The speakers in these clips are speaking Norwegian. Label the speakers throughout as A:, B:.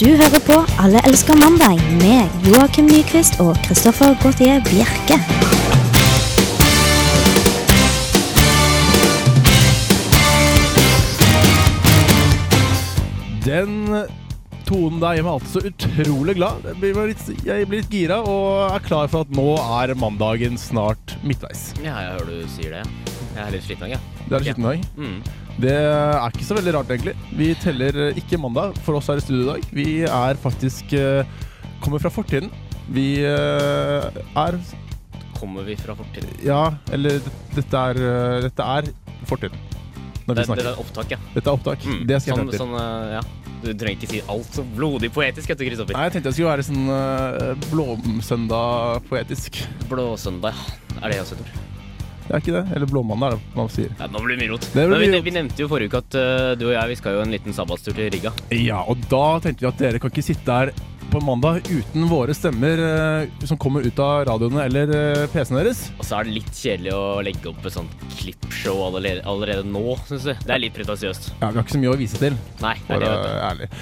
A: Du hører på Alle elsker mandag med Joakim Nyquist og Christoffer Gautier Bjerke.
B: Den tonen der gjør meg alltid så utrolig glad. Jeg blir, bare litt, jeg blir litt gira og er klar for at nå er mandagen snart midtveis.
C: Ja, jeg hører du sier det. Jeg er litt sliten i dag, jeg.
B: Det er en skitten dag.
C: Mm.
B: Det er ikke så veldig rart, egentlig. Vi teller eh, ikke mandag for oss her i studio i dag. Vi er faktisk eh, Kommer fra fortiden. Vi eh, er
C: Kommer vi fra fortiden?
B: Ja, eller d- dette er, eh, dette er fortiden. Når
C: Det,
B: vi
C: det, det
B: snakker.
C: er opptak, ja.
B: Dette er opptak.
C: Mm.
B: Det skal jeg
C: sånn,
B: frem til.
C: sånn, eh, ja. Du trenger ikke si alt så blodig poetisk, vet du, Kristoffer.
B: Nei, jeg tenkte jeg skulle eh, være sånn eh, blåsøndag-poetisk.
C: Blåsøndag, ja. Er det også et ord?
B: Det er ikke det. Eller blåmandag, er det man sier.
C: Ja, nå blir det mye rot.
B: blir
C: Men vi,
B: mye rot.
C: vi nevnte jo forrige uke at eh, du og jeg vi skal jo en liten sabbatstur til Riga.
B: Ja, og da tenkte vi at dere kan ikke sitte her på mandag uten våre stemmer eh, som kommer ut av radioene eller eh, PC-en deres.
C: Og så er det litt kjedelig å legge opp et sånt klippshow allerede, allerede nå, syns jeg. Det er litt pretensiøst.
B: Ja, Vi har ikke så mye å vise til,
C: Nei, det
B: for
C: er
B: å
C: det, vet du.
B: være ærlig.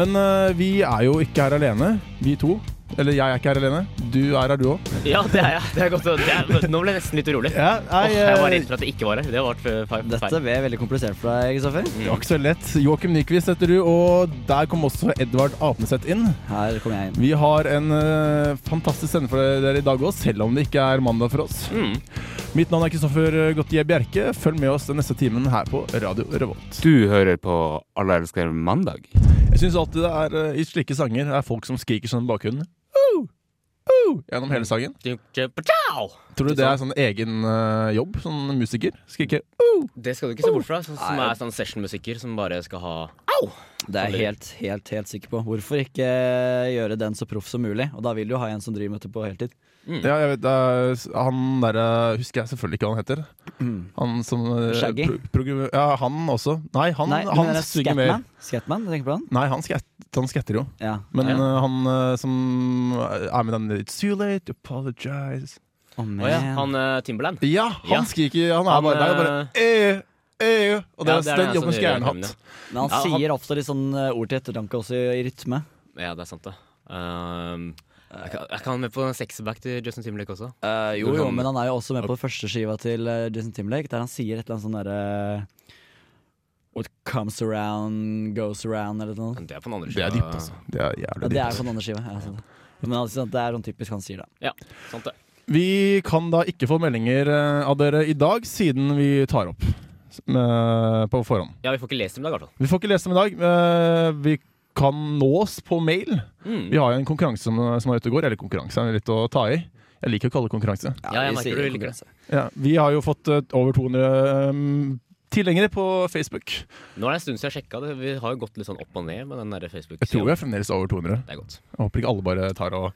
B: Men eh, vi er jo ikke her alene, vi to. Eller jeg er ikke her alene. Du er her, du òg.
C: Ja, det er jeg. Det er godt å det er, Nå ble jeg nesten litt urolig.
B: Ja,
C: Åh,
B: nei,
C: jeg var
B: eh,
C: redd for at det ikke var her. Det var feil. feil.
D: Dette ble veldig komplisert for deg, Kristoffer.
B: det var ikke så lett. Joakim Nyquist heter du, og der kom også Edvard Apneseth inn.
D: Her kommer jeg inn.
B: Vi har en eh, fantastisk sende for dere i dag òg, selv om det ikke er mandag for oss.
C: Mm.
B: Mitt navn er Kristoffer Gottier Bjerke. Følg med oss den neste timen her på Radio Revolt.
E: Du hører på Alle elsker mandag.
B: Jeg syns alltid det er eh, i slike sanger det er folk som skriker sånn i bakgrunnen. «Au! Au!» Gjennom hele sangen. Tror du det er sånn egen eh, jobb? Sånn musiker? Skrike «Au!»
C: Det skal du ikke se bort fra. Som, som
D: Nei.
C: er sånn sessionmusiker som bare skal ha
D: Det er jeg helt, helt, helt sikker på. Hvorfor ikke gjøre den så proff som mulig? Og da vil du ha en som driver med dette på heltid.
B: Ja, jeg vet, eh, s- han derre Husker jeg selvfølgelig ikke hva han heter. Han som eh,
D: Shaggy?
B: pro- pro- Ja, han også. Nei, han,
D: Nei, du
B: han
D: mener
B: synger mer.
D: Scatman? Scatman, du tenker på han?
B: Nei, han, skat, han skatter jo.
D: Ja.
B: Men
C: Ja.
B: eh, han eh, som er med den It's too late to apologize
D: Å,
C: Å ja,
D: man.
C: han eh, Timberland.
B: Ja, han
C: Ja.
B: skriker Han er
C: Han,
B: bare der og bare «Eh, eh», Og det
C: Ja,
B: er
C: det
B: den
C: er han som
B: jobben
C: gjør
B: skulle jeg gjerne
C: den,
B: hatt.
D: Men han
C: Ja, han-
D: sier ofte litt sånn eh, ord til ettertanke også i, i rytme.
C: Ja, det er sant, det. Ehm, jeg, kan, jeg kan være med på en sexback til Justin Timberlake også.
B: Eh,
D: jo,
C: jo,
D: men han er jo også med på første skiva til eh, Justin Timberlake, der han sier et eller annet sånn derre What comes around, goes around, eller noe sånt.
C: Men det er på den andre
B: Det er
C: siden.
B: dypt, altså. Det er jævlig
D: Ja,
B: dypt.
D: det er sånn- på den andre skiva. Ja, sant det. Men altså, det er sånn typisk han sier, da.
C: Ja, sant det.
B: Vi kan da ikke få meldinger eh, av dere i dag, siden vi tar opp s- med, på forhånd.
C: Ja, vi får ikke lest dem i dag, i hvert fall.
B: Vi får ikke lese dem i dag. eh, Vi kan nås på mail.
C: Mm.
B: Vi har jo en konkurranse som, som er ute og går. Eller konkurranse, det er litt å ta i. Jeg liker å kalle det konkurranse.
C: Ja, jeg
D: vi
C: merker
D: sier
C: du liker
D: konkurranse.
B: Ja, vi har jo fått eh, over 200 um, tilhengere på Facebook.
C: Nå er det en stund siden jeg sjekka det. Vi har jo gått litt sånn opp og ned med den der Facebook.
B: Jeg tror vi er fremdeles over 200.
C: Det er godt.
B: Jeg håper ikke alle bare tar og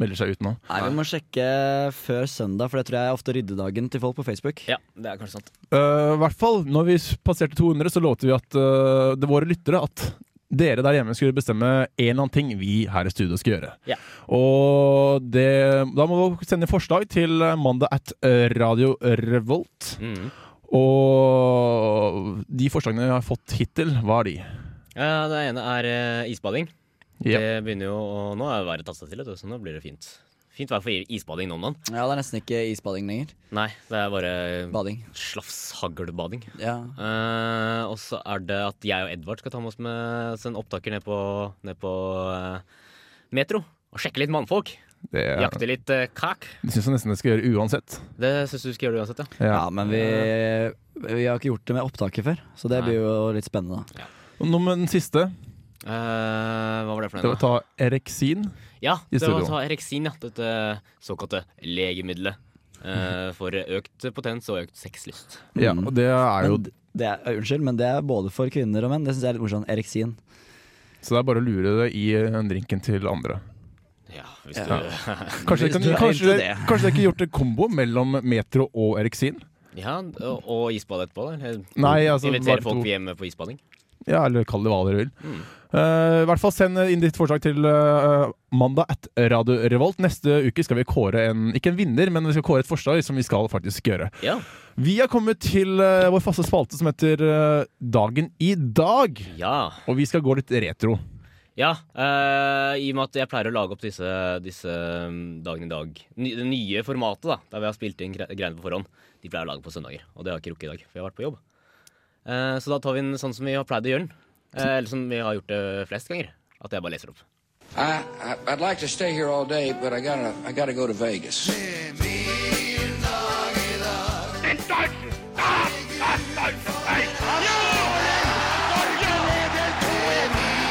B: melder seg ut nå.
D: Nei, vi må sjekke før søndag, for det tror jeg er ofte ryddedagen til folk på Facebook.
C: Ja, det er kanskje sant.
B: Eh, I hvert fall, når vi s- passerte 200, så lovte vi at eh, det våre lyttere at dere der hjemme skulle bestemme en eller annen ting vi her i studio skal gjøre.
C: Ja.
B: Og det, da må dere sende forslag til mandag at eh, Radio Revolt.
C: Mm.
B: Og de forslagene jeg har fått hittil, hva er de?
C: Ja, det ene er eh, isbading.
B: Ja.
C: Det begynner jo å Nå er været tatt seg til, vet du, så nå blir det fint. Fint vær for i- isbading nå om dagen.
D: Ja, det er nesten ikke isbading lenger.
C: Nei, det er bare
D: Bading.
C: slafs haglbading.
D: Ja.
C: Eh, og så er det at jeg og Edvard skal ta med oss med oss en opptaker ned på, ned på eh, Metro. Og sjekke litt mannfolk.
B: Det,
C: Jakte litt eh, kak.
B: det syns jeg nesten jeg skal gjøre uansett.
C: Det syns du skal gjøre det uansett, ja.
D: ja, men vi, vi har ikke gjort det med opptaket før, så det
C: Nei.
D: blir jo litt spennende. da.
B: Og nå med den siste,
C: Eh, hva var det for
B: det var
C: en?
B: å
C: da?
B: ta Erexin.
C: Ja,
B: i
C: det var
B: studio.
C: å ta Erexin, ja. Dette såkalte legemiddelet. eh, for økt potens og økt sexlyst.
B: Ja,
D: Mm.
B: og det er jo
D: Men d- det er, ø, unnskyld, men det er både for kvinner og menn. Det syns jeg er litt morsomt. Eriksin.
B: Så det er bare å lure det i eh, drinken til andre.
C: Ja, hvis
D: Ja.
C: du
B: Kanskje
D: Hvis
B: dere
D: du
B: kan,
D: er
B: kanskje,
D: inntil
B: dere-
D: det.
B: kanskje dere ikke gjort en kombo mellom Metro og Eriksin?
C: Ja, og, og isbad etterpå, da? Eller
B: Nei, altså, bare
C: Invitere
B: to.
C: folk hjemme på isbading? Ja,
B: Ja, eller kall det hva dere vil.
D: Mm.
B: Eh, I hvert fall Send inn ditt forslag til eh, mandag at Radio Revolt. Neste uke skal vi kåre en ikke en vinner, men vi skal kåre et forslag som vi skal faktisk gjøre.
C: ja.
B: Vi har kommet til eh, vår faste spalte som heter eh, Dagen i dag.
C: Ja.
B: Og vi skal gå litt retro.
C: Ja, eh, i og med at jeg pleier å lage opp disse, disse mm, dagen i dag. Ny, det nye formatet, da, der vi har spilt inn gre- greiene på forhånd, de pleier å lage på søndager. Og det har jeg ikke rukket i dag, for jeg har vært på jobb. Eh, så da tar vi den sånn som vi har pleid å gjøre den. Eh, eller som vi har gjort det flest ganger. At jeg bare leser opp.
F: I, I I'd like to stay here all day, but I gotta I gotta go to Vegas.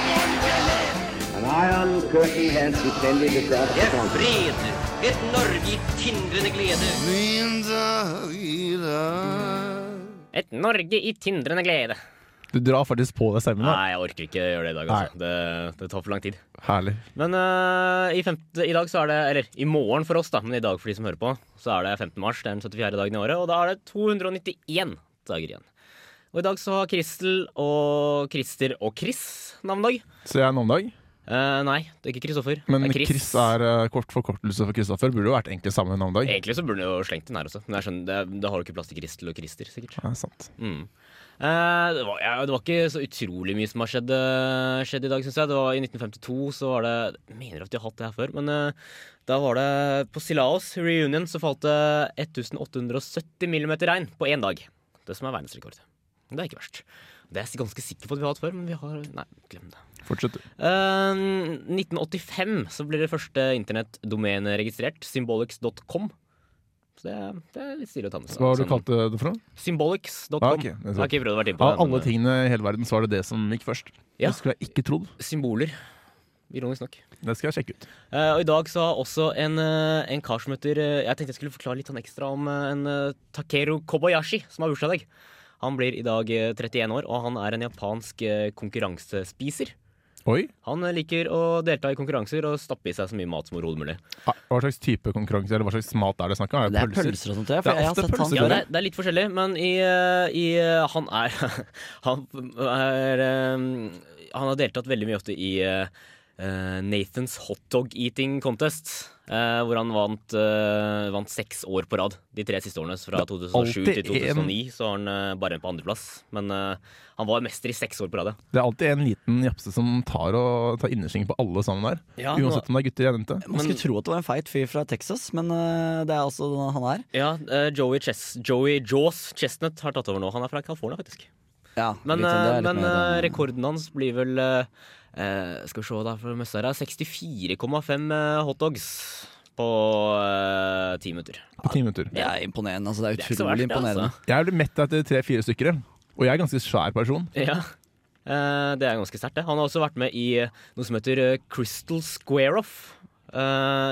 G: An iron curtain has descended across the continent.
H: Fred, et Norge i tindrende glede.
C: Et Norge i tindrende glede.
B: Du drar faktisk på deg stemmen. da.
C: Nei, jeg orker ikke gjøre det i dag, altså. Det, det tar for lang tid.
B: Herlig.
C: Men eh, i, femte, i dag så er det, eller i morgen for oss da, men i dag for de som hører på, så er det 15. mars, det er den 74. dagen i året, og da er det 291 dager igjen. Og i dag så har Kristel og Krister og Chris navnedag.
B: Så jeg er en annen dag.
C: Eh, nei, det er ikke Kristoffer.
B: Men
C: det er
B: Chris, er eh, kort forkortelse for Kristoffer. Burde jo vært egentlig samme navnedag.
C: Egentlig så burde du jo slengt den her også, men jeg skjønner, det, da har du ikke plass til Kristel og Krister, sikkert.
B: Ja, sant.
C: Mm. Eh, det, var, ja, det var ikke så utrolig mye som har skjedd, eh, skjedd i dag, syns jeg. Det var I 1952 så var det Jeg mener at de har hatt det her før, men eh, da var det På Silaos reunion så falt det 1870 millimeter regn på én dag. Det som er verdensrekord. Det er ikke verst. Det er jeg ganske sikker på at vi har hatt før, men vi har Nei, glem det.
B: Fortsett, du.
C: Eh, 1985 så ble det første internettdomenet registrert, symbolics.com. Så det, er- det er litt stilig å ta med seg.
B: Hva har du
C: Sånn-
B: kalt det for noe?
C: Symbolics.com.
B: Ah, ok, det er
C: Jeg
B: sant.
C: har ikke prøvd å være inne på eh,
B: Av
C: det.
B: alle
C: men-
B: tingene i hele verden, så var det det som gikk først.
C: Ja.
B: Det skulle jeg ikke trodd.
C: symboler. Ironisk nok.
B: Det skal jeg sjekke ut.
C: Eh, og i dag så har også en, eh, en kar som heter eh, Jeg tenkte jeg skulle forklare litt sånn ekstra om eh, en eh, Takeru Kobayashi, som har bursdag i dag. Han blir i dag eh, 31 år, og han er en japansk eh, konkurransespiser.
B: Oi,
C: Han eh, liker å delta i konkurranser og stappe i seg så mye mat som overhodet mulig.
B: ah, Hva slags type konkurranse eller hva slags mat er det snakk om?
D: Det er pølser og sånt, ja. For
B: Det er
D: jeg har
B: ofte
D: sett han
B: pølser,
C: Ja, det er, det er litt forskjellig, men i, eh, i eh, Han er Han er eh, Han har deltatt veldig mye ofte i eh, eh, Nathans hotdog eating contest. eh, hvor han vant, eh, vant seks år på rad de tre siste årene. Så Fra 2007 til
B: alltid
C: 2009 så var han eh, bare en på andreplass. Men eh, han var mester i seks år på rad. ja.
B: Det er alltid en liten japse som tar, og, tar innersvingen på alle sammen her.
C: Ja, nå-
B: Uansett om det er gutter eller jenter.
D: Man
C: Men-
D: skulle tro at det var en feit fyr fra Texas, men eh, det er altså den han er.
C: Ja, eh, Joey, Chess, Joey Jaws Chestnut har tatt over nå. Han er fra California, faktisk.
D: Ja,
C: Men,
D: litt- det er
C: eh,
D: litt
C: men
D: mer,
C: eh,
D: eh,
C: rekorden hans blir vel eh, eh, Skal vi se, da for møssa her er 64,5 eh, hotdogs på eh, ti minutter.
B: På ti minutter.
D: Det er imponerende. altså Det er
C: er ikke så
D: utrolig
C: verst, det,
D: imponerende.
C: altså.
B: Jeg blir mett etter tre-fire stykker. jeg. Og jeg er en ganske svær person.
C: Ja. Eh, det er ganske sterkt, det. Han har også vært med i eh, noe som heter eh, Crystal Square Off. Eh,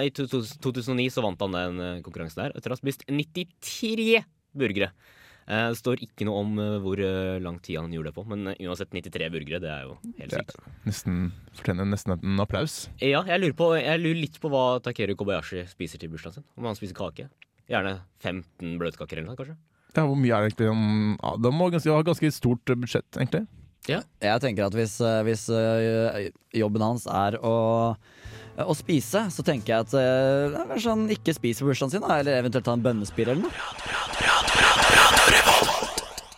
C: I to- to- 2009 så vant han den eh, konkurransen der etter å ha spist 93 burgere. Eh, Det står ikke noe om eh, hvor eh, lang tid han gjorde det på, men eh, uansett 93 burgere, det er jo helt
B: Det
C: sykt.
B: er nesten, fortjener nesten en applaus.
C: Ja, jeg lurer, på, jeg lurer litt på hva Takeru Kobayashi spiser til bursdagen sin. Om han spiser kake. Gjerne 15 bløtkaker eller noe, kanskje.
B: Ja, hvor mye er det egentlig? om- Ja, det må ganske, ha ganske stort budsjett, egentlig.
D: Jeg tenker at hvis, eh, hvis eh, jobben hans er å, å spise, så tenker jeg at eh, ja, kanskje han ikke spiser på bursdagen sin, da, eller eventuelt ta en bønnespir eller noe.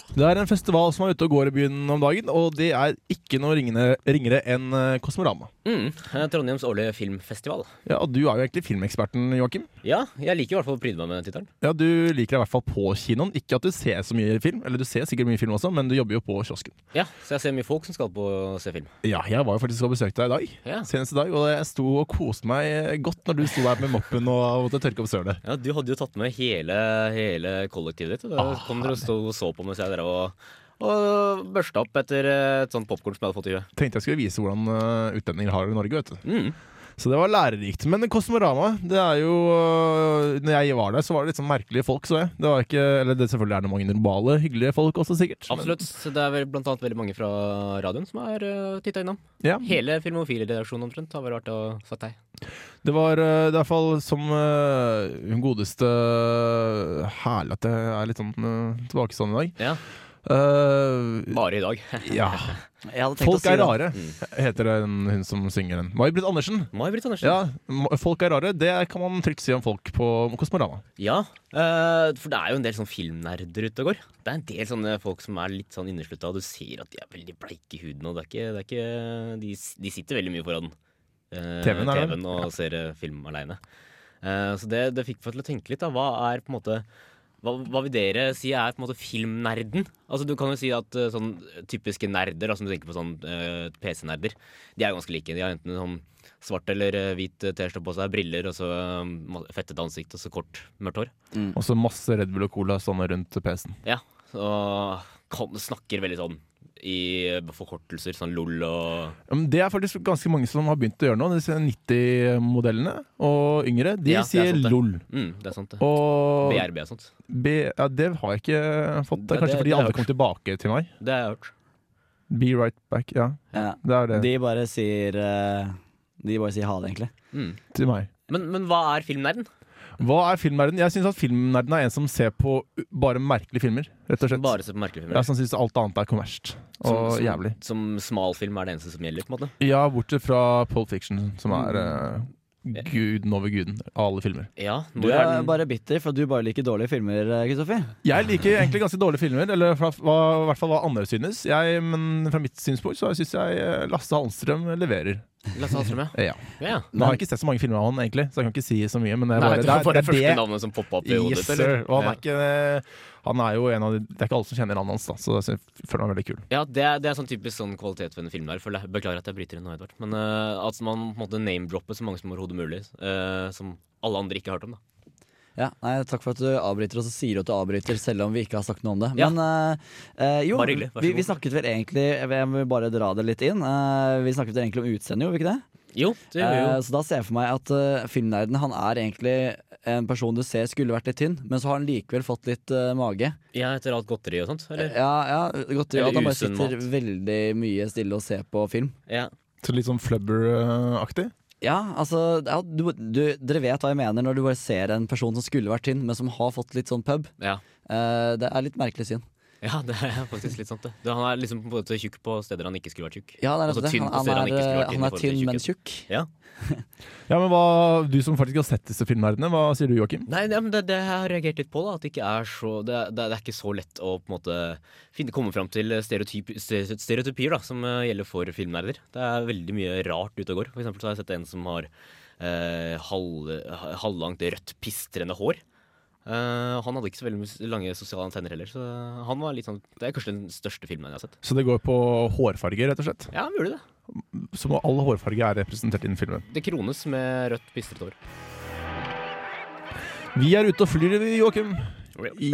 B: Det er en festival som er ute og går i byen om dagen, og det er ikke noe ringere, ringere enn eh, Kosmorama.
C: Mm. eh, Trondheims årlige filmfestival.
B: Ja, og du er jo egentlig filmeksperten, Joakim.
C: Ja, jeg liker i hvert fall å pryde meg med den tittelen.
B: Ja, du liker deg i hvert fall på kinoen. Ikke at du ser så mye film, eller du ser sikkert mye film også, men du jobber jo på kiosken.
C: Ja, så jeg ser mye folk som skal på å se film.
B: Ja, jeg var jo faktisk og besøkte deg i dag.
C: Ja.
B: Senest i dag, og jeg sto og koste meg eh, godt når du sto der med moppen og måtte tørke opp sølet.
C: Ja, Du hadde jo tatt med hele, hele kollektivet ditt. og Da kom dere og stod og så på mens jeg drev og, og børsta opp etter eh, et sånt popkorn som jeg hadde fått i huet.
B: Tenkte jeg skulle vise hvordan eh, utlendinger har det i Norge, vet du.
C: Mm.
B: Så det var lærerikt. Men Kosmorama, det er jo øh, Når jeg var der, så var det litt sånn merkelige folk, så jeg. Det var ikke, eller det selvfølgelig er det mange normale, hyggelige folk også, sikkert. Men-
C: Absolutt. Det er vel blant annet veldig mange fra radioen som har uh, titta innom.
B: Ja.
C: Hele Filmofil-redaksjonen omtrent har vel vært og sagt hei.
B: Det var øh, det er i hvert fall som øh, hun godeste øh, Herlig at jeg er litt sånn øh, tilbakestående i dag.
C: Ja.
B: Uh,
C: Bare i dag.
B: Ja.
D: Jeg hadde tenkt
B: Folk
D: å si
B: er
D: det. Mm.
B: rare, heter den hun som synger den. May-Britt Andersen.
C: May-Britt Andersen.
B: Ja, m- folk er rare. Det kan man trygt si om folk på Kosmorama.
C: Ja, eh, for det er jo en del sånn filmnerder ute og går. Det er en del sånne folk som er litt sånn inneslutta, og du ser at de er veldig bleike i huden. Og det er ikke, det er ikke de, s- de sitter veldig mye foran eh,
B: TV-en er det.
C: TV-en og ser eh, film aleine. så det, det fikk meg til å tenke litt. Da. Hva er på en måte hva, hva vil dere si er på en måte filmnerden? Altså Du kan jo si at eh, sånn typiske nerder, altså, om du tenker på sånn eh, PC-nerder, de er ganske like. De har enten sånn svart eller eh, hvit eh, T-skjorte på seg, briller og så eh, fettet ansikt og så kort, mørkt hår.
D: Mm.
B: Og så masse Red Bull og Cola stående rundt PC-en.
C: Ja, og kan, snakker veldig sånn i forkortelser, sånn lol og
B: Ja, men Det er faktisk ganske mange som har begynt å gjøre nå. Disse 90-modellene og yngre, de
C: Ja, det er
B: sier
C: sant det.
B: LOL.
C: mm, Det er sant, det.
B: Og
C: BRB og sånt.
B: B, ja, det har jeg ikke fått. Det
C: Det-
B: er kanskje
C: det-
B: fordi
C: det har
B: alle
C: jeg
B: kom tilbake til meg.
C: Det har jeg hørt.
B: Be right back. Ja,
D: Ja.
B: det er det.
D: De bare sier eh, De bare sier ha det, egentlig.
C: Mm.
B: Til meg.
C: Men, men hva er filmnerden?
B: Hva er filmnerden? Jeg syns at filmnerden er en som ser på u- bare merkelige filmer, rett og slett.
C: Bare se på merkelige filmer.
B: Ja, Som syns alt annet er kommersielt
C: Som-
B: og
C: som,
B: jævlig.
C: Som smalfilm er det eneste som gjelder, på en måte.
B: Ja, bortsett fra Pole Fiction, som er
C: Mm.
B: eh, guden over guden. av Alle filmer.
C: Ja, når
D: Du er
C: den-
D: bare bitter, for du bare liker dårlige filmer, eh, Kristoffer.
B: Jeg liker egentlig ganske dårlige filmer, eller fra, hva, i hvert fall hva andre synes. Jeg, men fra mitt synspunkt så syns jeg eh, Lasse Hallstrøm leverer.
C: Lasse Hallstrøm, ja.
B: Ja.
C: ja.
B: Nå har jeg ikke sett så mange filmer av han, egentlig, så jeg kan ikke si så mye. Men det er
C: Nei,
B: bare,
C: det
B: det,
C: var bare
B: er-
C: første
B: det er det
C: navnet som poppa opp i hodet
B: Yes,
C: ditt,
B: sir.
C: eller?
B: Og han er ikke eh, Han er jo en av de Det er ikke alle som kjenner navnet hans, da, så jeg sy- føler meg veldig kul.
C: Ja, det er, det er sånn typisk sånn kvalitet ved denne filmen. her føler jeg. Beklager at jeg bryter inn nå, Edvard. Men eh, at man på en måte name-dropper så mange som overhodet mulig, eh, som alle andre ikke har hørt om. da
D: Ja, nei, Takk for at du avbryter, og så sier du at du avbryter, selv om vi ikke har sagt noe om det.
C: Ja.
D: Men eh, eh, jo,
C: Bare hyggelig, vær så
D: vi, vi
C: god.
D: snakket vel egentlig Jeg vil bare dra det litt inn. eh, vi snakket vel egentlig om utseendet, gjorde vi ikke det?
C: Jo, det gjør vi jo.
D: Eh, så da ser jeg for meg at eh, filmnerden han er egentlig en person du ser skulle vært litt tynn, men så har han likevel fått litt eh, mage.
C: Ja, etter alt godteri og sånt, eller?
D: Ja, ja, Godteri
C: Eller
D: at han bare
C: usunn
D: sitter
C: mat.
D: veldig mye stille og ser på film.
C: Ja.
B: Så litt sånn Flubber-aktig.
D: Ja, altså ja, du, du, Dere vet hva jeg mener når du bare ser en person som skulle vært tynn, men som har fått litt sånn pub.
C: Ja.
D: Eh, det er litt merkelig syn.
C: ja, det er faktisk litt sant, det. Du, han er liksom på en måte tjukk på steder han ikke skulle vært tjukk.
D: Ja, det er
C: Altså,
D: nettopp det.
C: tynn på
D: Han,
C: steder han
D: han
C: ikke skulle
D: er,
C: vært
D: han
C: innenfor
D: er tynn,
C: til
D: men
C: tjukken.
D: tjukk.
C: Ja.
B: Ja, men hva, Du som faktisk har sett disse filmverdene, hva sier du, Joakim?
C: Nei, ja, men det, det jeg har reagert litt på, da. At det ikke er så Det, er- det, er- det er ikke så lett å på en måte finne, komme fram til stereotyp, ste- stereotypier da, som eh, gjelder for filmnerder. Det er veldig mye rart ute og går. For eksempel så har jeg sett en som har eh, halv, ha- halvlangt rødt, pistrende hår. Eh, han hadde ikke så veldig mye s- lange sosiale antenner heller, så han var litt sånn Det er kanskje den største filmen jeg har sett.
B: Så det går på hårfarge, rett og slett?
C: Ja, han gjorde det.
B: Så må all hårfarge er representert innen filmen.
C: Det krones med rødt, pistrete hår.
B: Vi er ute og flyr, vi, Joakim. I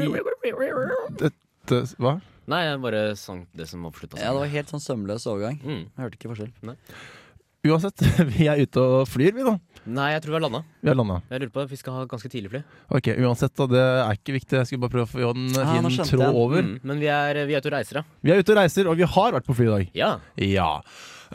B: dette Hva?
C: Nei, jeg bare sang det som avslutta
D: Ja, det var helt sånn sømløs overgang.
C: Mm.
D: Jeg hørte ikke forskjell.
B: Uansett, vi er ute og flyr, vi, da.
C: Nei, jeg tror vi har landa.
B: Vi har landa.
C: Jeg lurer på, Vi skal ha ganske tidlig fly.
B: Ok, uansett, da. Det er ikke viktig. Jeg skulle bare prøve å få en
D: Ah, nå
B: fin
D: skjønte jeg.
B: tråd over.
C: Mm, men vi er, vi er ute og reiser, ja.
B: Vi er ute og reiser, og vi har vært på fly i dag.
C: Ja,
B: Ja.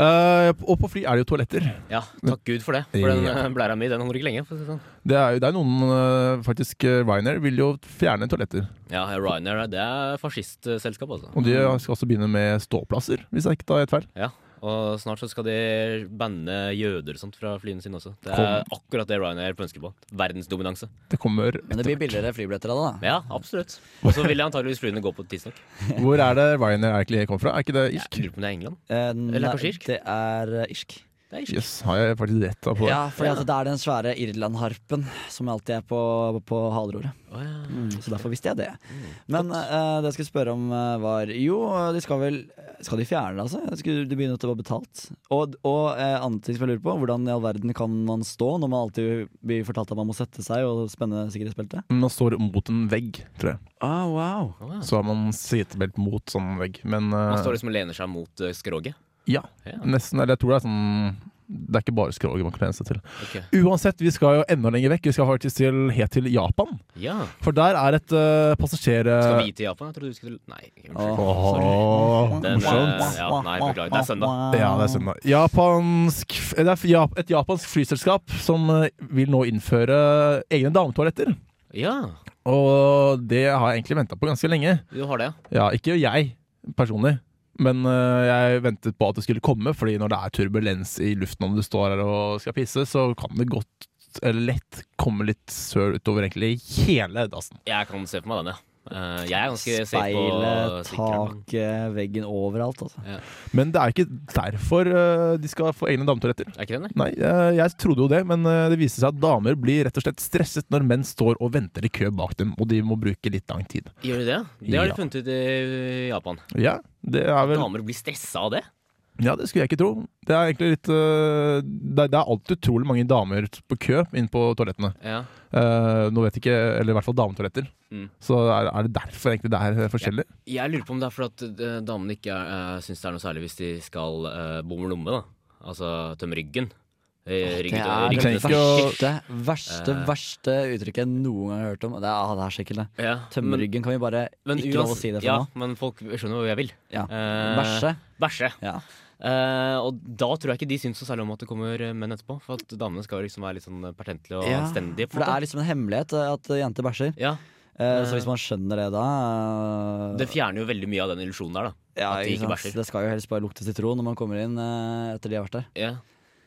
B: Eh, og på fly er det jo toaletter.
C: ja takk Gud for det. For den
B: Ja.
C: eh, blæra mi den holder ikke lenge. for å si det sånn.
B: Det er jo det er noen eh, Faktisk, eh, Ryanair vil jo fjerne toaletter.
C: Ja, Ryanair det er fascistselskap, altså.
B: Og de
D: Mm.
B: skal også begynne med ståplasser, hvis jeg ikke tar helt feil.
C: Ja, Og snart så skal de banne jøder og sånt fra flyene sine også. Det er akkurat det Ryanair ønsker på. Verdensdominanse.
B: Det kommer
D: Men det blir billigere flybilletter av det, da.
C: Ja, absolutt. Og så vil antageligvis flyene gå på tidsnok.
B: Hvor er det Ryanair egentlig kommer fra? Er ikke det
C: Jeg
B: irsk?
C: lurer på om det er England.
D: Eh,
C: Eller
D: nei,
C: kanskje irsk?
D: Det er eh, irsk.
C: Det er irsk.
B: Yes, har jeg faktisk rett da på det?
D: Ja, for det er den svære Irland-harpen som alltid er på, på haleroret.
C: Å, ja.
D: Så derfor visste jeg det.
C: Mm.
D: Men eh, det jeg skulle spørre om, eh, var Jo, eh, de skal vel Skal de fjerne det, altså? Skulle de begynne at det var betalt? Og, og eh, annet ting som jeg lurer på, hvordan i all verden kan man stå når man alltid blir fortalt at man må sette seg og spenne sikkerhetsbeltet?
B: Man står mot en vegg, tror jeg.
D: Ah, wow.
C: Å, ja.
B: Så har man sitebelt mot sånn vegg. Men eh,
C: Man står liksom og lener seg mot eh, skroget.
B: ja,
C: Ja.
B: nesten. Eller jeg tror det er sånn Det er ikke bare skroget man kan lene seg til.
C: Ok.
B: Uansett, vi skal jo enda lenger vekk. Vi skal faktisk til, helt til Japan.
C: Ja.
B: For der er et uh, passasjer...
C: Skal vi til Japan? Jeg trodde vi skulle Nei. unnskyld.
B: Åh,
C: Den,
B: morsomt.
C: eh, ja, nei, beklager. Det er søndag.
B: Ja, det er søndag. Japansk, det er ja- et japansk flyselskap som eh, vil nå innføre egne dametoaletter.
C: Ja,
B: Og det har jeg egentlig venta på ganske lenge.
C: du har det, ja.
B: Ja, ikke jeg personlig, Men eh, jeg ventet på at det skulle komme, fordi når det er turbulens i luften om du står her og skal pisse, så kan det godt eller lett komme litt søl utover egentlig hele dassen.
C: Jeg kan se for meg den, ja. Eh, jeg er ganske safe på
D: Speilet,
C: stikkeren.
D: taket, veggen, overalt, altså.
B: Men det er ikke derfor eh, de skal få egne dametoaletter.
C: Er ikke den det?
B: Nei, eh, jeg trodde jo det, men eh, det viste seg at damer blir rett og slett stresset når menn står og venter i kø bak dem, og de må bruke litt lang tid.
C: Gjør de det? Det har
B: Ja.
C: de funnet ut i Japan.
B: Ja, det er vel
C: Damer blir stressa av det.
B: Ja, det skulle jeg ikke tro. Det er egentlig litt eh, Det det er alltid utrolig mange damer på kø inn på toalettene.
C: Ja.
B: Eh, nå vet jeg ikke, eller i hvert fall dametoaletter.
C: Mm.
B: Så er, er det derfor egentlig det er forskjellig?
C: Jeg lurer på om det er fordi at eh, damene ikke uh, syns det er noe særlig hvis de skal uh, bomme lomme. da Altså tømme ryggen. Eh,
D: Det
C: ryggen
D: er
C: ryggen-
B: trenger
D: det
B: ikke å-
D: verste, verste,
C: Eh.
D: verste uttrykket jeg noen gang har hørt om. Det er, ah, det er så ekkelt, det.
C: ja.
D: Tømme ryggen kan vi bare
C: men
D: ikke lov å
C: uans-
D: si det
C: ja,
D: for nå.
C: Men folk skjønner hvor jeg vil.
D: Ja.
C: Eh,
D: Bæsje.
C: Bæsje.
D: Ja.
C: Eh, og da tror jeg ikke de syns så særlig om at det kommer eh, menn etterpå. For at damene skal jo liksom være litt sånn eh, pertentlige og
D: Ja,
C: anstendige. på en
D: For det
C: måte.
D: er liksom en hemmelighet eh, at jenter bæsjer.
C: ja,
D: Eh,
C: Eh,
D: Så hvis man skjønner det da eh,
C: det fjerner jo veldig mye av den illusjonen der, da.
D: ja,
C: at de ikke
D: sant?
C: bæsjer.
D: Det skal jo helst bare lukte sitron når man kommer inn eh, etter de har vært der.
C: Ja.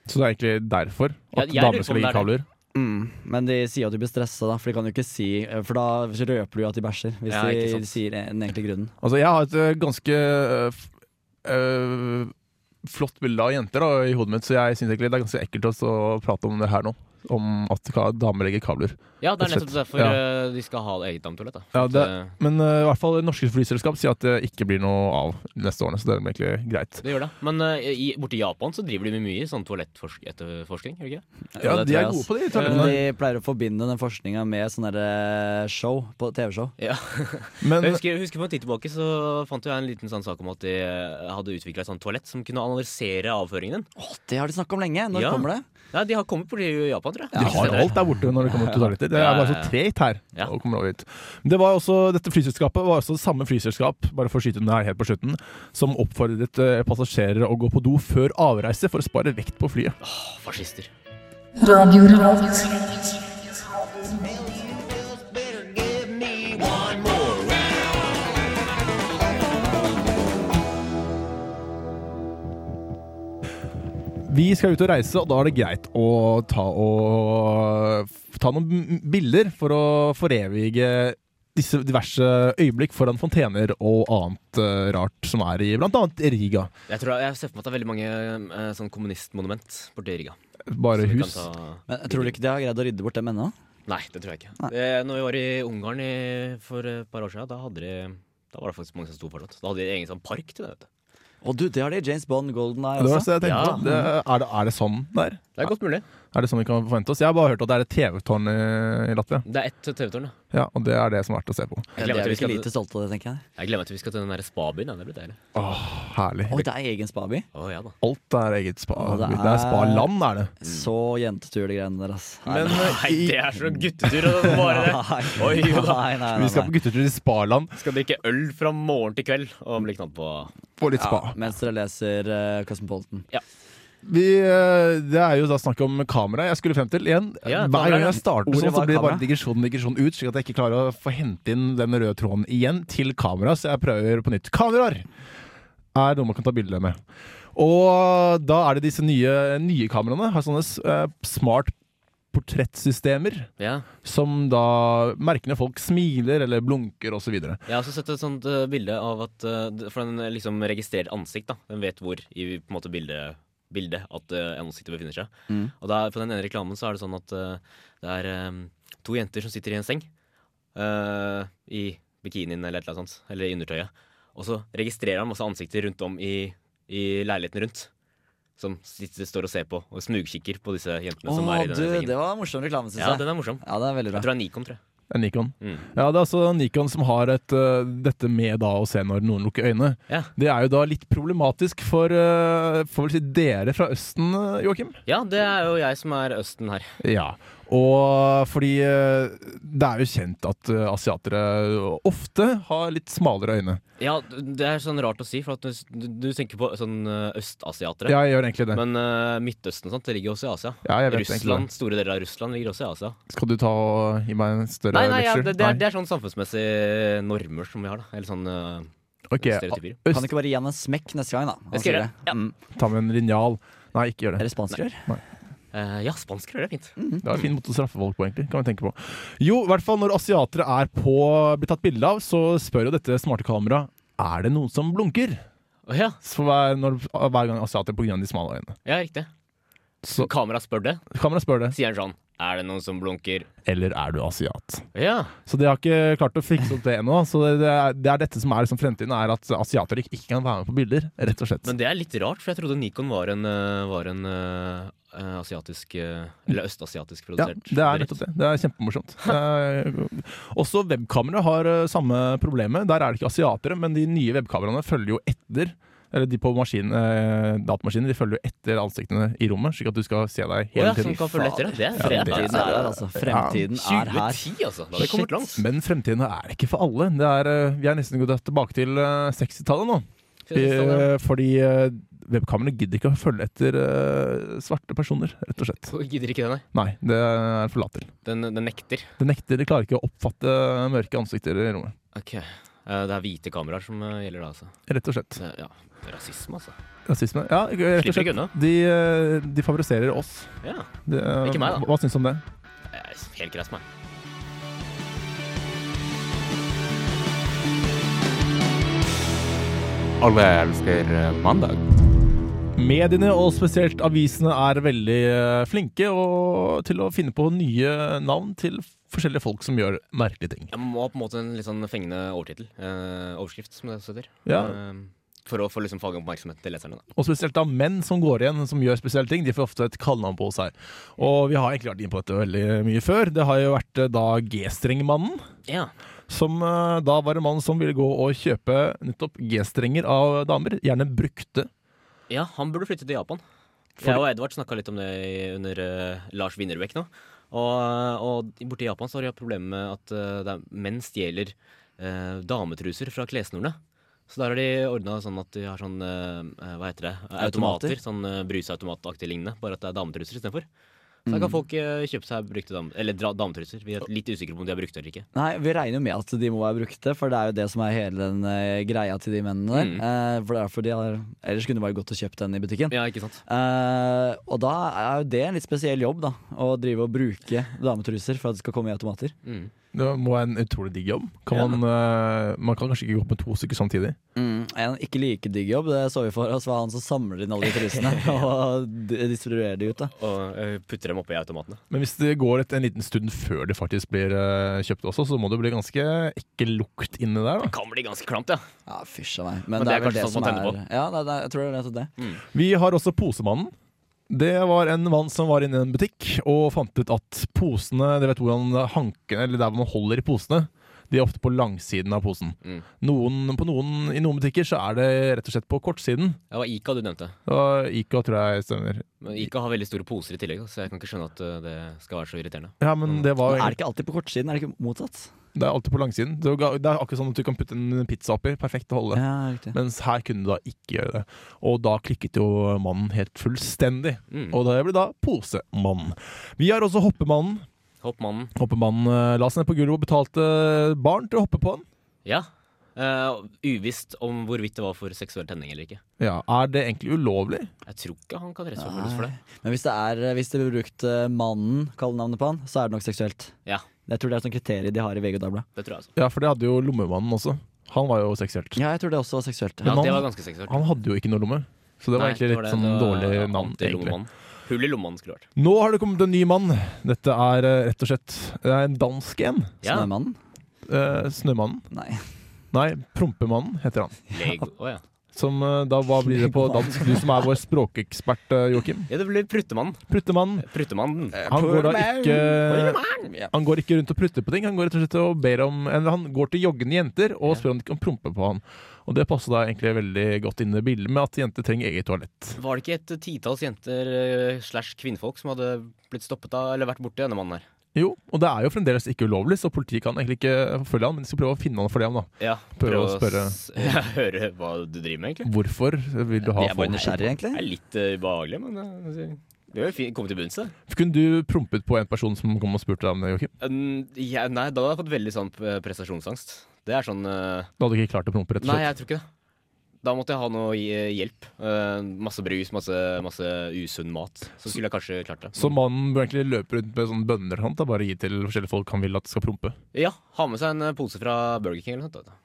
B: Så det er egentlig derfor
C: Ja,
B: at
C: jeg lurer
B: damer
C: på
B: skal
C: om det
B: ligge i
C: er det.
B: kalver?
C: Mm.
D: Men de sier jo at de blir stressa, da, for de kan jo ikke si eh, For da røper du jo at de bæsjer, hvis
C: Ja, ikke sant.
D: de sier den egentlige grunnen.
B: Altså, jeg har et ø, ganske ø, f- ø, flott bilde av jenter da, i hodet mitt, så jeg syns egentlig det er ganske ekkelt også å prate om det her nå. Om at ka- damer legger kabler.
C: ja, det
B: Rett og
C: er nettopp
B: slett.
C: derfor
B: Ja.
C: eh, de skal ha eget dametoalett. da.
B: Ja,
C: At,
B: det,
C: eh,
B: men ø, i hvert fall norske flyselskap sier at det ikke blir noe av neste årene, så det er egentlig greit.
C: Det gjør det. Men eh, i, borte i Japan så driver de med mye sånn toalettforskning. gjør de ikke?
B: Ja,
D: det
B: de er
D: tror jeg,
B: gode
D: ass.
B: på det. i
D: Men
B: toalettene.
D: de pleier å forbinde den forskninga med sånn derre show på TV-show.
C: Ja.
B: Men
C: Jeg husker, jeg husker på en tid tilbake så fant jo jeg en liten sånn sak om at de eh, hadde utvikla et sånt toalett som kunne analysere avføringen din.
D: Å, det har de snakka om lenge! Når
C: Ja.
D: kommer det?
C: Ja, de har kommet borti Japan, tror jeg.
B: De har alt der borte når det kommer til toaletter. Det er bare
C: Ja, ja,
B: så
C: ja.
B: tregt her.
C: Ja.
B: å komme over hit. Men Det var også, dette flyselskapet var også samme flyselskap bare for å skyte den her helt på slutten, som oppfordret eh, passasjerer å gå på do før avreise for å spare vekt på flyet.
C: Åh, Fascister.
I: Radio Revolt.
B: Vi skal ut og reise, og da er det greit å ta, og, ta noen bilder for å forevige disse diverse øyeblikk foran fontener og annet eh, rart som er i bl.a. Riga.
C: Jeg, tror, jeg ser for meg at det er veldig mange eh, sånn kommunistmonument borti Riga.
B: Bare
C: Så vi kan
B: hus.
C: ta-
D: Men Tror du ikke de har greid å rydde bort dem ennå?
C: Nei, det tror jeg ikke. Det, når vi var i Ungarn i, for et par år siden, da, hadde de, da var det faktisk mange som sto fortsatt. Da hadde de egen sånn park til det. vet du.
D: Å du, det har de i James Bond Golden Eye altså.
B: Det var
D: også.
B: så jeg tenkte,
C: Ja.
B: det, er, det, er det sånn der?
C: Det er godt mulig.
B: Er det sånn vi kan forvente oss? Jeg har bare hørt at det er et TV-tårn i, i Latvia.
C: Det er ett TV-tårn, ja.
B: Ja, og det er det som er verdt å se på.
C: Jeg
D: de
C: glemmer at
D: er jo
C: vi
D: ikke
C: skal,
D: lite stolte av det, tenker jeg.
C: jeg glemmer at vi skal til den derre spabyen. Ja. Det blir deilig.
B: Herlig.
D: Oi, det er egen spaby.
C: Å ja da.
B: Alt er eget spa.
D: Å,
B: det
D: det
B: er,
D: er
B: spa-land, er det.
C: Mm.
D: Så jentetur, de greiene der, ass. Nei,
B: Men
C: eh, Nei,
B: i,
C: det er så guttetur å bare det.
D: nei,
C: Oi, jo da.
D: nei, nei,
B: vi
D: nei,
B: skal på
D: nei.
B: guttetur i spa-land
C: Skal drikke øl fra morgen til kveld og bli knadd på.
B: på litt spa.
D: Mens dere leser eh, Cosmopolitan.
B: Vi, eh, det er jo da snakk om kamera jeg skulle frem til. Igjen,
C: Ja, kamera,
B: Hver gang
C: ja.
B: jeg starter
D: Ordet
B: sånn, så
D: var
B: blir det bare
D: kamera.
B: digresjon digresjon ut, slik at jeg ikke klarer å få hente inn den røde tråden igjen til kamera, så jeg prøver på nytt. Kameraer er noe man kan ta bilder med. Og da er det disse nye, nye kameraene. Har sånne eh, smart portrettsystemer.
C: Ja.
B: som da merker når folk smiler eller blunker osv.
C: Jeg har også sett et sånt eh, bilde av at eh, det- For den eh, liksom registrerer ansikt, da. Den vet hvor i på en måte bildet, bildet at eh, ansiktet befinner seg.
D: Mm.
C: Og da, på den ene reklamen så er det sånn at eh, det er eh, to jenter som sitter i en seng. eh, I bikinien eller et eller annet sånt. Eller i undertøyet. Og så registrerer han masse ansikter rundt om i, i leiligheten rundt. Som sitter, står og ser på og smugkikker på disse jentene
D: Å,
C: som er i
D: du,
C: denne sengen.
D: det var en morsom reklame, syns
C: Ja,
D: jeg.
C: den er morsom.
D: Ja, det er veldig
C: Jeg
D: bra.
C: tror det er Nikon, tror jeg.
B: Nikon.
C: Mm.
B: Ja, det er altså Nikon som har et, øh, dette med da å se når noen lukker øynene.
C: Ja.
B: Det er jo da litt problematisk for, øh, for vel si dere fra Østen, øh, Joakim.
C: ja, det er jo jeg som er Østen her.
B: Ja. Og fordi øh, det er jo kjent at øh, asiatere ofte har litt smalere øyne.
C: Ja, det er sånn rart å si, for at du, du tenker på sånn eh, østasiatere.
B: Ja, jeg gjør egentlig det.
C: Men eh, Midtøsten og sånt, det ligger jo også i Asia.
B: Ja, jeg vet egentlig
C: Russland, Store deler av Russland ligger også i Asia.
B: Skal du ta og gi meg en større
C: Nei, nei, ja,
B: lecture?
C: det, det, er, det er sånn samfunnsmessige normer som vi har, da. Eller sånn eh,
B: Ok,
C: Stereotyper.
B: Øst-
D: Kan det ikke bare gi han en smekk neste gang, da? Han
C: Jeg skal
D: sier
C: gjøre det. Ja.
D: Mm.
B: Ta med en linjal. Nei, ikke gjør
D: Er
B: det.
D: det spansk rør?
C: Eh, ja, spansk rør er fint.
B: Det er en fin måte å straffe folk på, egentlig. Kan vi tenke på. Jo, i hvert fall når asiatere er på, blir tatt bilde av, så spør jo dette smarte kameraet er det noen som blunker.
C: Å ja,
B: Så hver, når, hver gang asiater på grunn av de smale øynene.
C: ja, riktig.
B: Så
C: Kameraet spør det.
B: kameraet spør det.
C: Sier han sånn Er det noen som blunker?
B: Eller er du asiat?
C: Ja.
B: Så de har ikke klart å fikse opp det ennå. Så det er, det er dette som er liksom fremtiden, er at asiater ikke ikke kan være med på bilder, rett og slett.
C: Men det er litt rart, for jeg trodde Nikon var en, eh, var en eh, eh, asiatisk eh, Eller østasiatisk
B: ja,
C: produsert.
B: det er
C: bedrift.
B: nettopp det. Det er kjempemorsomt. Det er- Også webkamera har eh, samme problemet. Der er det ikke asiatere, men de nye webkameraene følger jo etter. Eller de på maskin, eh, datamaskiner de følger jo etter ansiktene i rommet, slik at du skal se deg
C: Å
B: hele
C: ja, sånn- som
B: tiden.
C: kan følge etter det. Det er
B: Ja, det
D: Fremtiden
C: fremtiden.
D: er her, altså. Fremtiden er her.
C: 2010, altså. Da har vi kommet
D: Shit.
C: langt.
B: Men fremtiden er ikke for alle. Det er, eh, vi er nesten gått tilbake til eh, 60-tallet nå. Eh, Fordi eh, webkameraene gidder ikke å følge etter eh, svarte personer, rett og slett.
C: Så Gidder ikke det, nei.
B: Nei, det er for lat til.
C: Den, den nekter.
B: Det nekter, de klarer ikke å oppfatte eh, mørke ansikter i rommet.
C: Ok. Eh, Det er hvite kameraer som eh, gjelder da, altså.
B: Rett og slett.
C: Det, ja. Rasisme, altså.
B: Rasisme. Ja, rett og
C: Slipper ikke
B: slett.
C: unna.
B: De, eh, de favoriserer oss.
C: Ja.
B: Det, eh,
C: Ikke meg, da.
B: Hva syns du om det?
C: Det er Helt greit for meg.
E: Alle elsker eh, mandag.
B: Mediene, og spesielt avisene, er veldig eh, flinke og, til å finne på nye navn til forskjellige folk som gjør merkelige ting.
C: Jeg må ha på en måte en litt sånn fengende overtittel. Eh, overskrift, som det også heter.
B: Ja.
C: Eh, for å få liksom fage oppmerksomheten til leserne. Da.
B: Og spesielt da menn som går igjen, som gjør spesielle ting, de får ofte et kallenavn på seg. Og vi har egentlig vært inne på dette veldig mye før. Det har jo vært eh, da G-strengmannen,
C: Ja.
B: som eh, da var en mann som ville gå og kjøpe nettopp G-strenger av damer, gjerne brukte.
C: ja, han burde flytte til Japan. Jeg og Edvard snakka litt om det i- under eh, Lars Winnerbäck nå. Og, og borte i Japan så har de problemer med at eh, det er menn stjeler eh, dametruser fra klessnorene. Så der har de ordna sånn at de har sånn eh, eh, hva heter det?
D: Automater.
C: automater. Sånn eh, brusautomataktig lignende, bare at det er dametruser istedenfor. Så da kan folk eh, kjøpe seg brukte dam eller dra dametruser. Vi er litt usikre på om de er brukte eller ikke.
D: Nei, vi regner jo med at de må være brukte, for det er jo det som er hele den eh, greia til de mennene der.
C: Mm.
D: Eh, for det er derfor de har Ellers kunne de bare gått og kjøpt den i butikken.
C: Ja, ikke sant?
D: Eh, og da er jo det en litt spesiell jobb, da. Å drive og bruke dametruser for at det skal komme i automater.
C: Mm.
B: Det må være en utrolig digg jobb. Kan man, eh, man kan kanskje ikke gå opp med to stykker samtidig.
C: Mm.
D: En ikke like digg jobb, det så vi for oss, var han som samler inn alle de trusene og d- distribuerer de ut, da.
C: Og eh, putter dem oppi automatene.
B: Men hvis det går et, en liten stund før det faktisk blir eh, kjøpt også, så må det bli ganske ekkel lukt inni der. da.
C: Kan bli ganske klamt, ja.
D: Ja, fysj a meg.
C: Men det er
D: vel
C: kanskje sånn man tenner på.
D: Ja, det, det, jeg tror det er nettopp det.
B: Vi har også posemannen. Det var en mann som var inne i en butikk og fant ut at posene Dere vet hvordan hanken, eller der hvor man holder i posene, de er ofte på langsiden av posen.
C: Mm.
B: Noen, på noen, I noen butikker så er det rett og slett på kortsiden.
C: Det var Ica du nevnte.
B: Og Ica tror jeg stemmer.
C: Men Ica har veldig store poser i tillegg, da, så jeg kan ikke skjønne at eh, det skal være så irriterende.
B: Ja, men det, var,
D: Mm. Men er det ikke alltid på kortsiden? Er det ikke motsatt?
B: det er alltid på langsiden. Det er det er akkurat sånn at du kan putte en pizza oppi. Perfekt å holde.
D: Ja, riktig.
B: Mens her kunne du da ikke gjøre det. Og da klikket jo mannen helt fullstendig.
C: Mm.
B: Og det ble da posemannen. Vi har også hoppemannen.
C: Hoppmannen.
B: Hoppemannen eh, la seg ned på gulvet og betalte barn til å hoppe på han.
C: Ja. Eh, uvisst om hvorvidt det var for seksuell tenning eller ikke.
B: Ja, Er det egentlig ulovlig?
C: Jeg tror ikke han kan rettsforfølges for det.
D: Men hvis det er Hvis det blir brukt eh, mannen, kallenavnet på han, så er det nok seksuelt.
C: Ja,
D: Jeg tror det er sånn kriterium de har i VG og Dagbladet.
C: det tror jeg altså.
B: Ja, for det hadde jo lommemannen også. Han var jo seksuelt.
D: Ja, jeg tror det også var seksuelt.
C: Ja,
B: Men han-
C: det var ganske seksuelt.
B: Han hadde jo ikke noe lomme. Så det var
C: Nei,
B: egentlig litt
C: det
B: sånn
C: Det var
B: dårlig navn. egentlig.
C: antilommannen. Hull i lommemannen skulle vært.
B: Nå har det kommet en ny mann. Dette er eh, rett og slett Det er en dansk en.
C: Ja.
D: Snømannen?
B: Eh, snømannen.
D: Nei.
B: Nei, Prompemannen heter han.
C: Lego. Å ja.
B: Som eh, da Hva blir det på dansk? Du som er vår språkekspert, eh, Joakim.
C: ja, det ble Pruttemannen.
B: Pruttemannen.
C: Pruttemannen.
B: Han går da eh, ikke Han går ikke rundt og prutter på ting. Han går rett og slett og ber om Eller han går til joggende jenter og spør om de kan prompe på han. Og det passer da egentlig veldig godt inn i bildet med at jenter trenger eget toalett.
C: Var det ikke et titalls jenter eh, slash kvinnfolk som hadde blitt stoppet av eller vært borti denne mannen her?
B: Jo, og det er jo fremdeles ikke ulovlig, så politiet kan egentlig ikke forfølge han, men de skal prøve å finne han for det. han da
C: Ja,
B: Prøv
C: prøv
B: å spørre.
C: s- ja, høre hva du driver med, egentlig.
B: Hvorfor vil du ha
D: Jeg er bare
B: folk
D: nysgjerrig, egentlig.
C: Det er litt eh, ubehagelig, men eh, det er jo fint. Komme til bunns i det.
B: Kunne du prompet på en person som kom og spurte deg om det, Joakim?
C: Um, ja, nei, da hadde jeg fått veldig sånn eh, prestasjonsangst. Det er sånn eh,
B: Du hadde ikke klart å prompe, rett og
C: Nei,
B: slett?
C: jeg tror ikke det. Da måtte jeg ha noe eh, hjelp. Eh, masse brus, masse, masse usunn mat. Så skulle jeg kanskje klart det.
B: Så mannen bør egentlig løpe rundt med sånne bønner og sånt, da, bare gi til forskjellige folk han vil at skal prompe?
C: Ja, ha med seg en eh, pose fra Burger King eller noe sånt. da.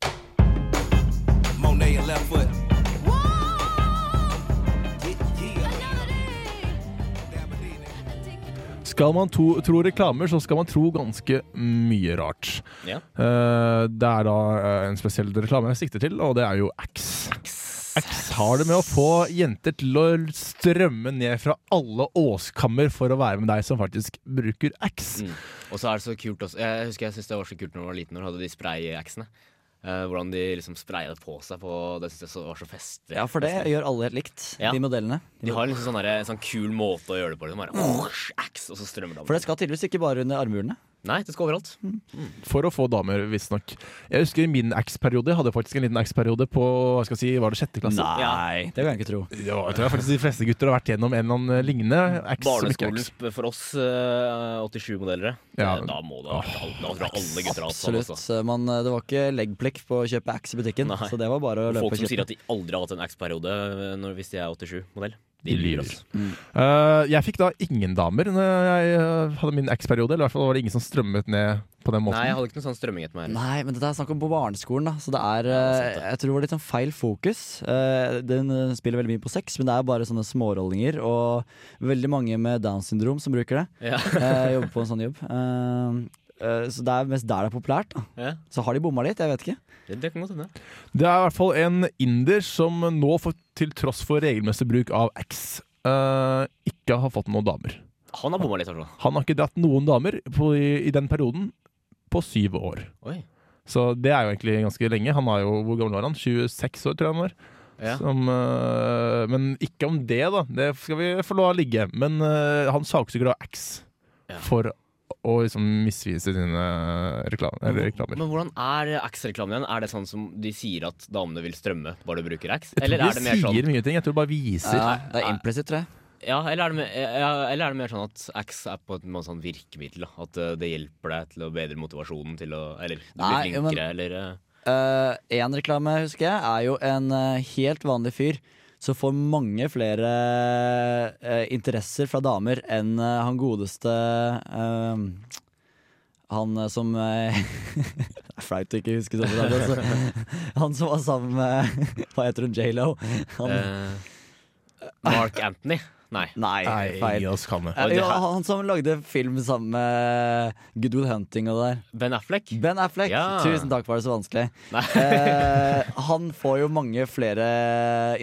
B: Skal man to, tro reklamer, så skal man tro ganske mye rart.
C: Ja.
B: Eh, det er da eh, en spesiell reklame jeg sikter til, og det er jo Axe. Axe har det med å få jenter til å strømme ned fra alle åskammer for å være med deg som faktisk bruker Axe.
C: Mm. Og så er det så kult også. Jeg husker jeg syntes det var så kult når jeg var liten, når du hadde de spray-aksene. Eh, hvordan de liksom spraya det på seg. På, det synes jeg så, var så festlig.
D: Ja, for det gjør alle helt likt,
C: Ja.
D: de modellene.
C: De har liksom sånn, der, en sånn kul måte å gjøre det på. Liksom. Bare, aks, og så strømmer det
D: For
C: av.
D: det skal tydeligvis ikke bare under armhulene.
C: Nei, det skal overalt.
B: For å få damer, visstnok. Jeg husker i min Axe-periode, jeg hadde faktisk en liten Axe-periode på hva skal jeg si, var det sjette klasse?
C: Nei,
D: det kan jeg ikke tro.
B: Det var, jeg tror jeg faktisk de fleste gutter har vært gjennom en eller annen lignende. Axe som ikke er
C: Barneskolen
B: Axe.
C: sp- for oss eh, 87-modellere.
B: Ja.
C: Eh, Da må det ha vært alle, da tror jeg alle gutter har hatt sånn.
D: Absolutt.
C: altså.
D: Man, eh, det var ikke leggplikt på å kjøpe Axe i butikken,
C: Nei.
D: så det var bare å løpe
C: Folk som
D: og
C: sier
D: kjøpe.
C: at de aldri har hatt en X-periode når- hvis de er 87-modell.
B: De
C: De lyver altså.
B: lyver.
C: oss.
B: Eh, jeg fikk da ingen damer når jeg eh, hadde min Axe-periode. Eller i hvert fall var det ingen som strømmet ned på den måten.
C: Nei, jeg hadde ikke noe sånn strømming etter meg. heller.
D: Nei, men dette er snakk om på barneskolen, da. Så det
C: Ja,
D: er,
C: det er sant,
D: eh, jeg tror det var litt sånn feil fokus. Eh, Den eh, spiller veldig mye på sex, men det er bare sånne smårollinger. Og veldig mange med Downs syndrom som bruker det.
C: Ja.
D: Eh, Jobber på en sånn jobb. Eh, eh, Så det er mest der det er populært. da
C: Ja.
D: Så har de bomma litt, jeg vet ikke.
C: Det, det kan godt hende.
B: Det er i hvert fall en inder som nå, for, til tross for regelmessig bruk av X, eh, ikke har fått noen damer.
C: Han har bomma litt. i hvert fall.
B: Han har ikke dratt noen damer på, i, i den perioden på syv år.
C: Oi.
B: Så det er jo egentlig ganske lenge. Han var jo, Hvor gammel var han? 26 år, tror jeg han var.
C: Ja.
B: Som, eh, men ikke om det, da. Det skal vi få lov å ligge. Men eh, han saksøker da X
C: Ja.
B: for å liksom misvise sine reklam, eller reklamer.
C: Men hvordan er X-reklamen igjen? Er det sånn som de sier at damene vil strømme bare du bruker X?
B: Jeg tror
C: Eller
B: ikke
C: er det mer sånn
B: sier mye ting, jeg tror det bare viser.
D: Ja, det er implisitt, tror jeg.
C: Ja, eller er det mer, ja, eller er det mer sånn at X er på et måte sånn virkemiddel? da? At eh, det hjelper deg til å bedre motivasjonen til å Eller du blir
D: Nei,
C: flinkere,
D: men-
C: eller eh,
D: Én Eh, reklame husker jeg er jo en eh, helt vanlig fyr som får mange flere eh, interesser fra damer enn eh, han godeste eh, Han eh, som eh, Det er flaut å ikke huske sånn. Altså. Han som var sammen med Hva heter hun? J.Lo? Han-
C: eh, Mark Anthony? Nei.
D: Nei, feil.
B: gi oss kammer.
D: Eh,
C: Og det
D: jo,
C: her-
D: han som lagde film sammen med Good Will Hunting og det der.
C: Ben Affleck?
D: Ben Affleck,
C: Ja.
D: tusen takk for det så vanskelig.
C: Nei.
D: Eh, han får jo mange flere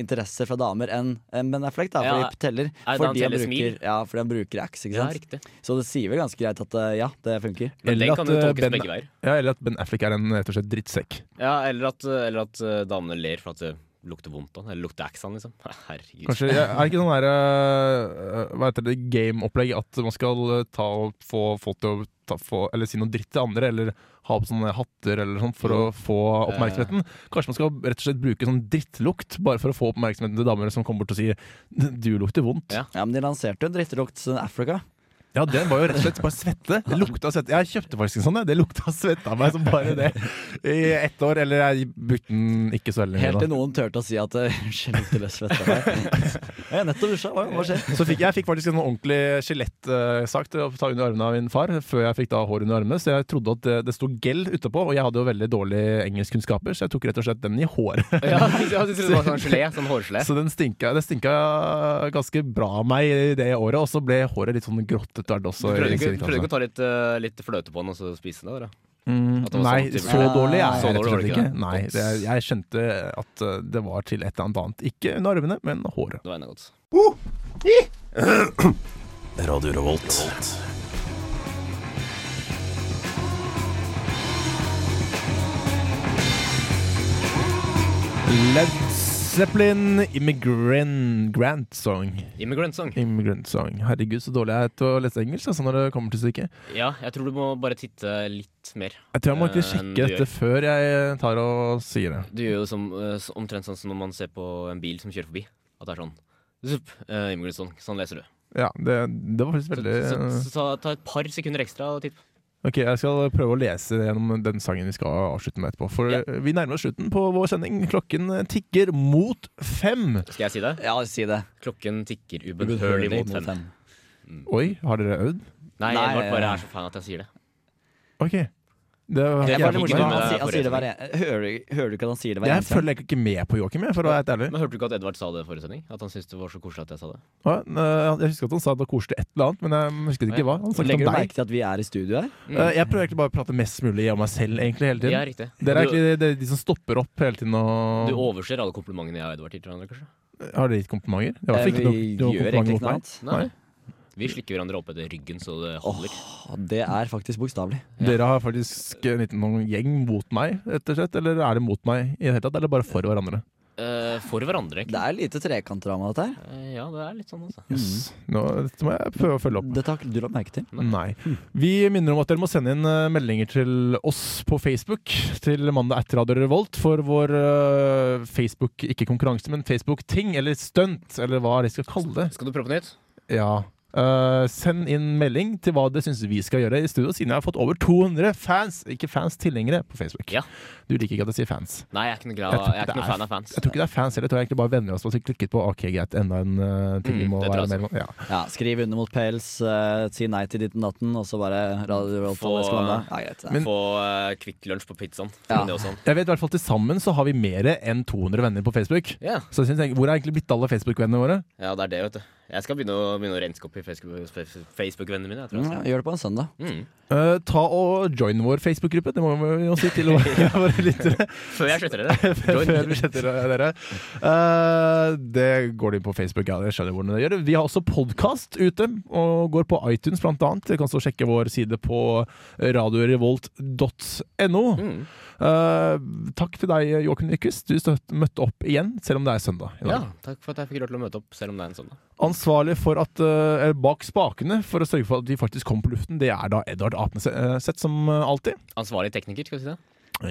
D: interesser fra damer enn enn Ben Affleck, da, fordi
C: Ja.
D: teller.
C: da han
D: Fordi han,
C: teller
D: bruker,
C: smil.
D: ja, fordi han bruker Axe, ikke
C: Ja,
D: sant.
C: riktig.
D: så det sier vel ganske greit at eh, ja, det funker.
C: Men
B: Eller
C: den
B: at,
C: kan jo
B: eh,
C: tolkes
B: Ben-
C: begge veier.
B: Ja, eller at Ben Affleck er en rett og slett drittsekk.
C: Ja, eller at, eller at eh, damene ler for at det lukter vondt av den. Eller lukter Axan, liksom. Herregud.
B: Kanskje, ja, er det ikke sånn der, eh, hva heter det, game-opplegg at man skal eh, ta og få folk til å ta, få, eller si noe dritt til andre, eller ha på sånne hatter eller sånn for å få oppmerksomheten? Kanskje man skal rett og slett bruke sånn drittlukt bare for å få oppmerksomheten til damer som kommer bort og sier 'du lukter vondt'.
C: Ja.
B: Ja,
D: Ja, men de lanserte jo en drittlukt Africa.
B: den var jo rett og slett bare svette. Det lukta svette. Jeg kjøpte faktisk en sånn, jeg. det lukta svette av meg som bare det i ett år. Eller jeg brukte den ikke så veldig
D: Helt
B: da.
D: til noen turte å si at eh, Unnskyld, lukter løs svette av meg. Jeg har nettopp dusja, hva, hva skjer?
B: Så fikk, jeg fikk faktisk en ordentlig skjelettsak til å ta under armene av min far, før jeg fikk da hår under armene, så jeg trodde at det, det sto gel utapå, og jeg hadde jo veldig dårlige engelskkunnskaper, så jeg tok rett og slett den i håret.
C: Ja, ja, du trodde det var sånn gelé? Sånn hårgelé?
B: Så den stinka, det stinka ganske bra av meg i det året, og så ble håret litt sånn grått etter hvert
C: Du
B: også. i
C: prøvde
B: altså.
C: ikke,
B: innstillingen,
C: prøvde ikke
B: kanskje.
C: å ta litt, eh, litt fløte på den og så spise den? Eller? At det var
B: Mm, Nei,
C: sånn type-
B: så dårlig er
C: Så
B: jeg rett og
C: dårlig
B: slett
C: var det
B: ikke.
C: ikke,
B: Nei, det, jeg skjønte at eh, det var til et eller annet annet. Ikke under armene, men håret.
C: Det var enda godt.
B: Led Zeppelin Immigrant Grant Song.
C: Immigrant song.
B: Immigrant Song. Herregud, så dårlig jeg er til å lese engelsk altså, når det kommer til stykket.
C: Ja, jeg tror du må bare titte litt mer.
B: Jeg tror jeg må egentlig
C: Eh, enn du
B: sjekke dette før jeg tar og sier det.
C: Du gjør jo som, eh, s- omtrent sånn som når man ser på en bil som kjører forbi. At det er sånn Zup, eh, Immigrant song. Sånn leser du.
B: Ja, det, det var faktisk
C: Så,
B: veldig
C: så, så, ta- ta et par sekunder ekstra og titt.
B: Ok, Jeg skal prøve å lese gjennom den sangen vi skal avslutte med etterpå. For
C: Ja.
B: vi nærmer oss slutten på vår sending. Klokken tikker mot fem.
C: Skal jeg si det?
D: Ja, si det.
C: Klokken tikker ubønnhørlig mot fem.
B: Oi, har dere øvd?
C: Nei,
D: Nei,
C: Edvard
D: ja,
C: bare
D: ja.
C: er så fan at jeg sier det.
B: Ok. Det var
D: Det er
C: Jeg
D: veldig
C: fikk
D: morsomt.
C: ikke
D: Han,
C: med
D: sier- han sier det hver
C: forrige
D: en- hører, du- hører du ikke at han sier det hver
B: Jeg
D: eneste gang?
B: følger egentlig ikke med på Joakim, jeg, for å være helt ærlig.
C: Men Hørte du ikke at Edvard sa det i forrige sending? At han syntes det var så koselig at jeg sa det?
B: Ja, eh, Jeg husker at han sa at det var koselig et eller annet, men jeg husket ikke hva. Han snakket
D: Legger du
B: om
D: merke
B: deg.
D: til at vi er i studio her?
B: Eh, Jeg prøver egentlig bare å prate mest mulig om meg selv egentlig hele
C: Ja,
B: tiden.
C: riktig.
B: Dere er
C: Du-
B: egentlig de, de som stopper opp hele tiden og
C: Du overser alle komplimentene jeg og Edvard gir til hverandre, kanskje?
B: Har dere gitt komplimenter? Det var i hvert fall
D: Eh,
B: ikke noe,
D: vi
B: noe
D: gjør
B: kompliment
D: egentlig
B: mot
D: ikke noe
B: meg.
D: annet.
C: Nei. Vi slikker hverandre opp etter ryggen så det holder.
D: Å, Det er faktisk bokstavelig.
B: Dere har faktisk en liten noen gjeng mot meg, rett og slett? Eller er det mot meg i det hele tatt, eller bare for hverandre?
C: Eh, for hverandre,
D: Det
C: egentlig.
D: er lite trekantdrama, dette her.
C: Eh, ja, det er litt sånn,
D: Mm.
C: altså.
B: Yes. Nå, dette må jeg prøve å følge opp.
D: Dette har ikke du lagt merke til.
B: Nei. Vi minner om at dere må sende inn eh, meldinger til oss på Facebook, til mandag etter Radio Revolt, for vår eh, Facebook, ikke konkurranse, men Facebook-ting, eller stunt, eller hva de skal kalle det.
C: Skal du prøve på nytt?
B: Ja. Eh, send inn melding til hva dere syns vi skal gjøre i studio, siden jeg har fått over 200 fans, ikke fans, tilhengere, på Facebook.
C: Ja.
B: Du liker ikke at jeg sier fans.
C: Nei, jeg er ikke noe,
B: Jeg
C: glad,
B: tror
C: jeg er
B: det
C: ikke noe
B: er-
C: fan av fans.
B: Jeg tror ikke det er fans heller, jeg tror egentlig bare venner av oss som har klikket på OK, greit, enda en eh, ting vi
C: Mm,
B: må
C: det tror
B: være
C: jeg
B: med på. Ja.
D: Ja, skriv under mot pels, eh, si nei til ditten datten, og så bare Radio Revolt.
C: Få-
D: alle skal være med. Ja, greit. det.
C: Få eh, Kvikk Lunsj på pizzaen.
D: Ja.
C: Det også. sånn.
B: Jeg vet i hvert fall til sammen så har vi mer enn 200 venner på Facebook.
C: Ja.
B: Så jeg synes, egentlig- Hvor er egentlig blitt alle Facebook-vennene våre?
C: ja, det er det, vet du. Jeg skal begynne å, begynne å renske opp i Facebook- Facebook-vennene mine. Jeg tror
D: Mm, ja,
C: jeg.
D: Gjør det på en søndag.
C: skal. Mm.
B: Eh, ta og Join vår Facebook-gruppe, det må vi jo si til våre våre lyttere.
C: Før jeg sletter dere.
B: Før vi sletter dere. Eh, det går de inn på Facebook. ja, jeg skjønner hvordan det gjør Vi har også podkast ute, og går på iTunes blant annet. Dere kan så sjekke vår side på radiorevolt.no.
C: Mm.
B: Eh, takk til deg, Joakim Nyquist. Du støt, møtte opp igjen, selv om det er søndag. i dag.
C: Ja, takk for at jeg fikk lov til å møte opp, selv om det er en sånn, søndag.
B: Ansvarlig for at, eh, eller bak spakene for å sørge for at vi faktisk kom på luften, det er da Edvard Apneseth, som eh, alltid.
C: Ansvarlig tekniker, skal vi si det?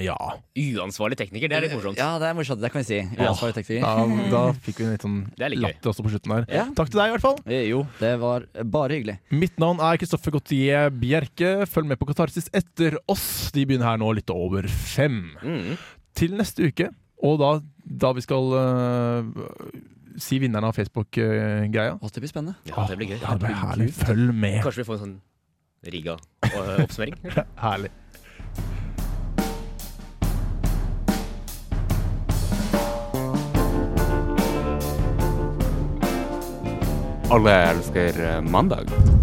B: Ja.
C: Uansvarlig tekniker, det er litt morsomt.
D: Ja, det er morsomt. Det kan vi si. Uansvarlig tekniker.
B: Da, fikk vi en litt sånn
C: Det er litt gøy.
B: latter også på slutten der.
D: Ja.
B: Takk til deg, i hvert fall.
D: Eh, Jo, det var bare hyggelig.
B: Mitt navn er Kristoffer Gautier Bjerke. Følg med på Katarsis etter oss. De begynner her nå litt over fem.
C: Mm.
B: Til neste uke, og da, da vi skal eh, si vinneren av Facebook-greia.
D: Å, det blir spennende.
C: ja det blir gøy.
B: Ah, Ja, det blir herlig. Følg med.
C: Kanskje vi får en sånn rigga eh, oppsummering?
B: Herlig.
E: Alle elsker eh, mandag.